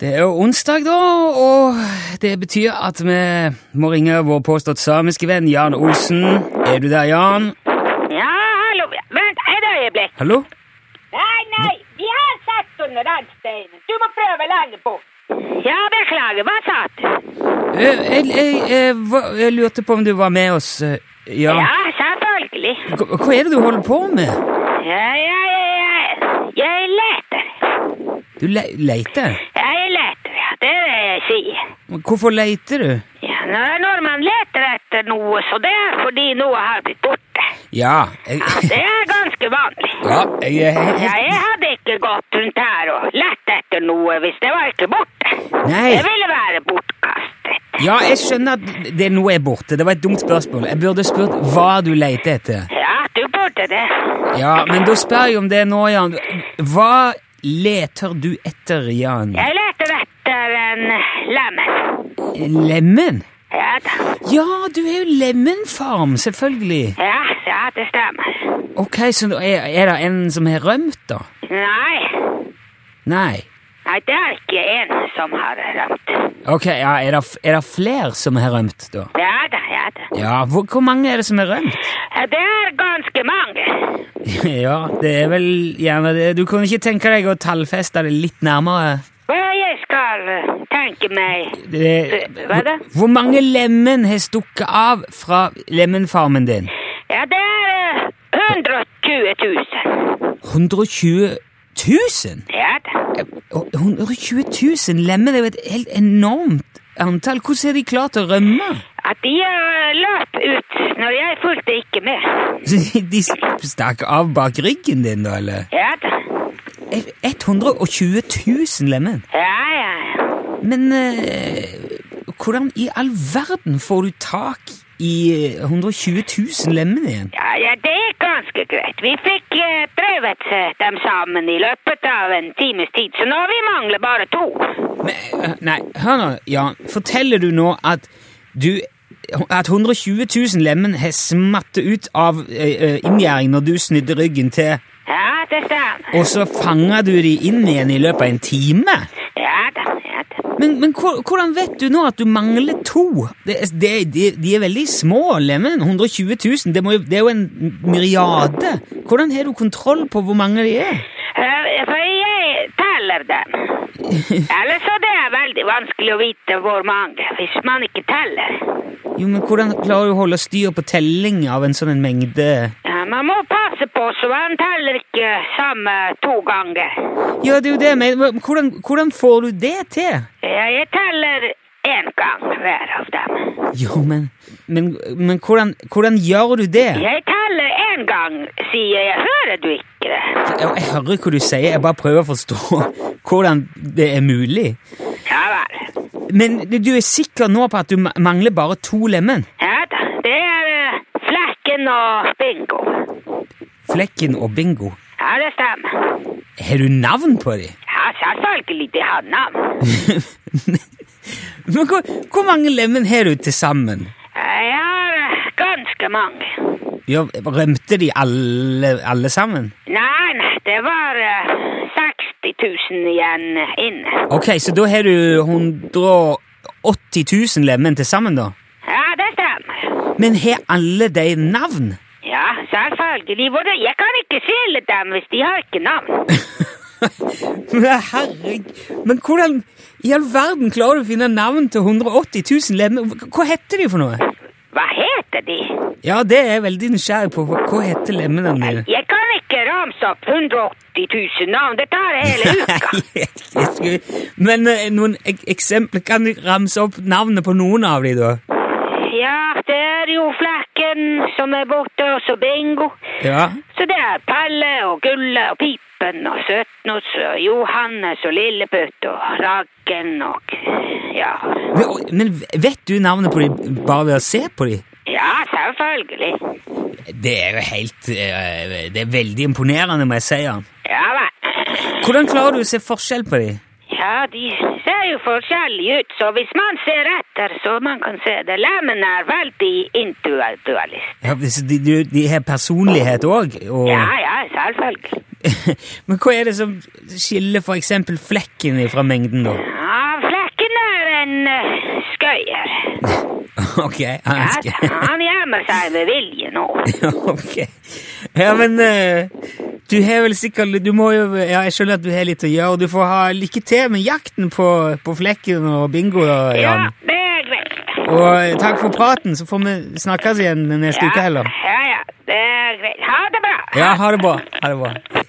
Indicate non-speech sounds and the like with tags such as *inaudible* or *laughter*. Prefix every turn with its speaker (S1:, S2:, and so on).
S1: Det er jo onsdag, da, og det betyr at vi må ringe vår påstått samiske venn Jan Olsen. Er du der, Jan?
S2: Ja, hallo. Vent et øyeblikk.
S1: Hallo?
S2: Nei, nei. Vi har satt under den steinen. Du må prøve lenger bort. Ja, beklager. Hva sa du?
S1: Eh, Jeg, jeg, jeg, hva- jeg lurte på om du var med oss, eh,
S2: Ja,
S1: Jan.
S2: selvfølgelig.
S1: Hva hva er det du holder på med?
S2: Ja, ja, ja, ja. Jeg leter.
S1: Du le leter?
S2: Jeg leter, ja. Det er det jeg sier.
S1: Men Hvorfor leter du?
S2: Ja, når- når man leter etter noe, så det er fordi noe har blitt borte.
S1: Ja, jeg,
S2: Ja, det er ganske vanlig.
S1: *laughs* ja, jeg, er
S2: Ja, jeg
S1: helt-
S2: hadde ikke gått rundt her og lett etter noe hvis det var ikke borte.
S1: Nei.
S2: Det ville være bortkastet.
S1: ja, jeg skjønner at det nå er borte. Det var et dumt spørsmål. Jeg burde spurt hva du leter etter.
S2: Ja, du burde det.
S1: Ja, men da spør jeg om det nå, Jan. Hva leter du etter, Jan?
S2: Jeg leter etter en lemen.
S1: Lemen?
S2: Ja da.
S1: Ja, du er jo lemenfarm, selvfølgelig.
S2: Ja, ja, det stemmer.
S1: Ok, så da er, er det en som har rømt, da?
S2: Nei.
S1: Nei.
S2: Nei, det er ikke en som har rømt.
S1: Ok, ja, er det, f- er det flere som har rømt, da?
S2: Ja da, ja da.
S1: Ja, hvor, hvor mange er det som har rømt? *laughs*
S2: Ja, Det er ganske mange.
S1: ja, det er vel gjerne det. Du kunne ikke tenke deg å tallfeste det litt nærmere?
S2: Hva jeg skal eh, tenke meg
S1: Det,
S2: Hva er det?
S1: Hvor, hvor mange lemen har stukket av fra lemenfarmen din?
S2: Ja, det er eh, 120 000.
S1: 120 000?
S2: Ja da.
S1: Og 120 000 lemmer, det er jo et helt enormt antall. Hvordan har de klart å rømme?
S2: At de eh, løp ut når jeg fulgte ikke med.
S1: De stakk av bak ryggen din, da, eller?
S2: Ja da.
S1: 120 000 lemmer.
S2: Ja, ja, ja.
S1: Men eh, hvordan i all verden får du tak i eh, 120 000 lemmer igjen?
S2: Ja, ja, det er ganske greit. Vi fikk eh, drevet eh, dem sammen i løpet av en times tid, så nå vi mangler bare to.
S1: Men, eh, nei, hør nå, Jan. Forteller du nå at du at 120 000 lemmen har smattet ut av eh, eh, inngjerding når du snudde ryggen til
S2: Ja, det stemmer.
S1: Og så fanger du de inn igjen i løpet av en time?
S2: Ja da, ja da.
S1: Men, men hvor- hvordan vet du nå at du mangler to? Det, er- det, de, de er veldig små, lemen. 120 000. Det, må jo, det er jo en myriade. Hvordan har du kontroll på hvor mange de er?
S2: Eh, For jeg teller dem. Ellers så det er veldig vanskelig å vite hvor mange, hvis man ikke teller.
S1: Jo, men Hvordan klarer du å holde styr på telling av en sånn en mengde?
S2: Ja, man må passe på så man teller ikke samme to ganger.
S1: Ja, det er jo det, men men hvordan, hvordan får du det til?
S2: Ja, jeg teller én gang hver av dem.
S1: Jo, men Men, men hvordan, hvordan gjør du det?
S2: Jeg teller én gang, sier jeg. Hører du ikke det?
S1: Jeg, jeg hører hva du sier, jeg bare prøver å forstå *laughs* hvordan det er mulig.
S2: Ja vel.
S1: Men du er sikker nå på at du ma- mangler bare to lemen?
S2: Ja da. Det er eh, Flekken og Bingo.
S1: Flekken og Bingo.
S2: Ja, det stemmer.
S1: Har du navn på dem?
S2: Ja, selvfølgelig. De har navn.
S1: *laughs* Men hvor, hvor mange lemen har du til sammen?
S2: Jeg har eh, ganske mange.
S1: Ja, rømte de alle, alle sammen?
S2: Nei, nei, det var eh, 60 000 igjen eh, inne.
S1: Ok, så da har du 180 000 lemen til sammen, da?
S2: Ja, det stemmer.
S1: Men har alle de navn? *laughs*
S2: Ja, selvfølgelig. Hvordan- Jeg kan ikke skille dem hvis de har ikke navn.
S1: Men Herregud, men hvordan i all verden klarer du å finne navn til 180 000 lemen? Hva heter de for noe?
S2: Hva heter de?
S1: Ja, det er jeg veldig nysgjerrig på. Hva hva heter lemmene dine?
S2: Jeg kan ikke ramse opp 180 000 navn. Det tar hele
S1: *laughs*
S2: uka.
S1: Nei, jeg skulle- *laughs* Men eh, noen ek eksempler Kan du ramse opp navnet på noen av de da?
S2: Ja, det er jo Flekken som er borte, og så Bingo.
S1: Ja.
S2: Så det er Pelle og Gulle og Pipen og Søtnos og Johannes og Lilleputt og Raggen og Ja.
S1: Men, og- men vet du navnet på de bare ved å se på de?
S2: Ja, selvfølgelig.
S1: Det er jo helt eh, Det er veldig imponerende, må jeg si. Jan.
S2: Ja vel.
S1: Hvordan klarer du å se forskjell på de?
S2: Ja, de ser jo forskjellige ut, så hvis man ser etter, så man kan se det. Lemmen er veldig individualist.
S1: Ja, så de, de, de har personlighet òg? Og... *laughs*
S2: Ja, ja, selvfølgelig.
S1: men hva er det som skiller for eksempel flekken fra mengden, da? *laughs*
S2: Ja, en eh, skøyer.
S1: Ok. Han
S2: Ja,
S1: skal... *laughs*
S2: han gjemmer seg med vilje nå.
S1: ok. Ja, men eh, du har vel sikkert Du må jo Ja, jeg skjønner at du har litt å gjøre, og du får ha lykke til med jakten på, på flekken og bingo, da,
S2: Ja,
S1: Jan.
S2: det er greit.
S1: Og eh, takk for praten, så får vi snakkes igjen neste uke heller.
S2: Ja, ja, det er greit. Ha det bra.
S1: Ja, ha det bra. Ha det bra.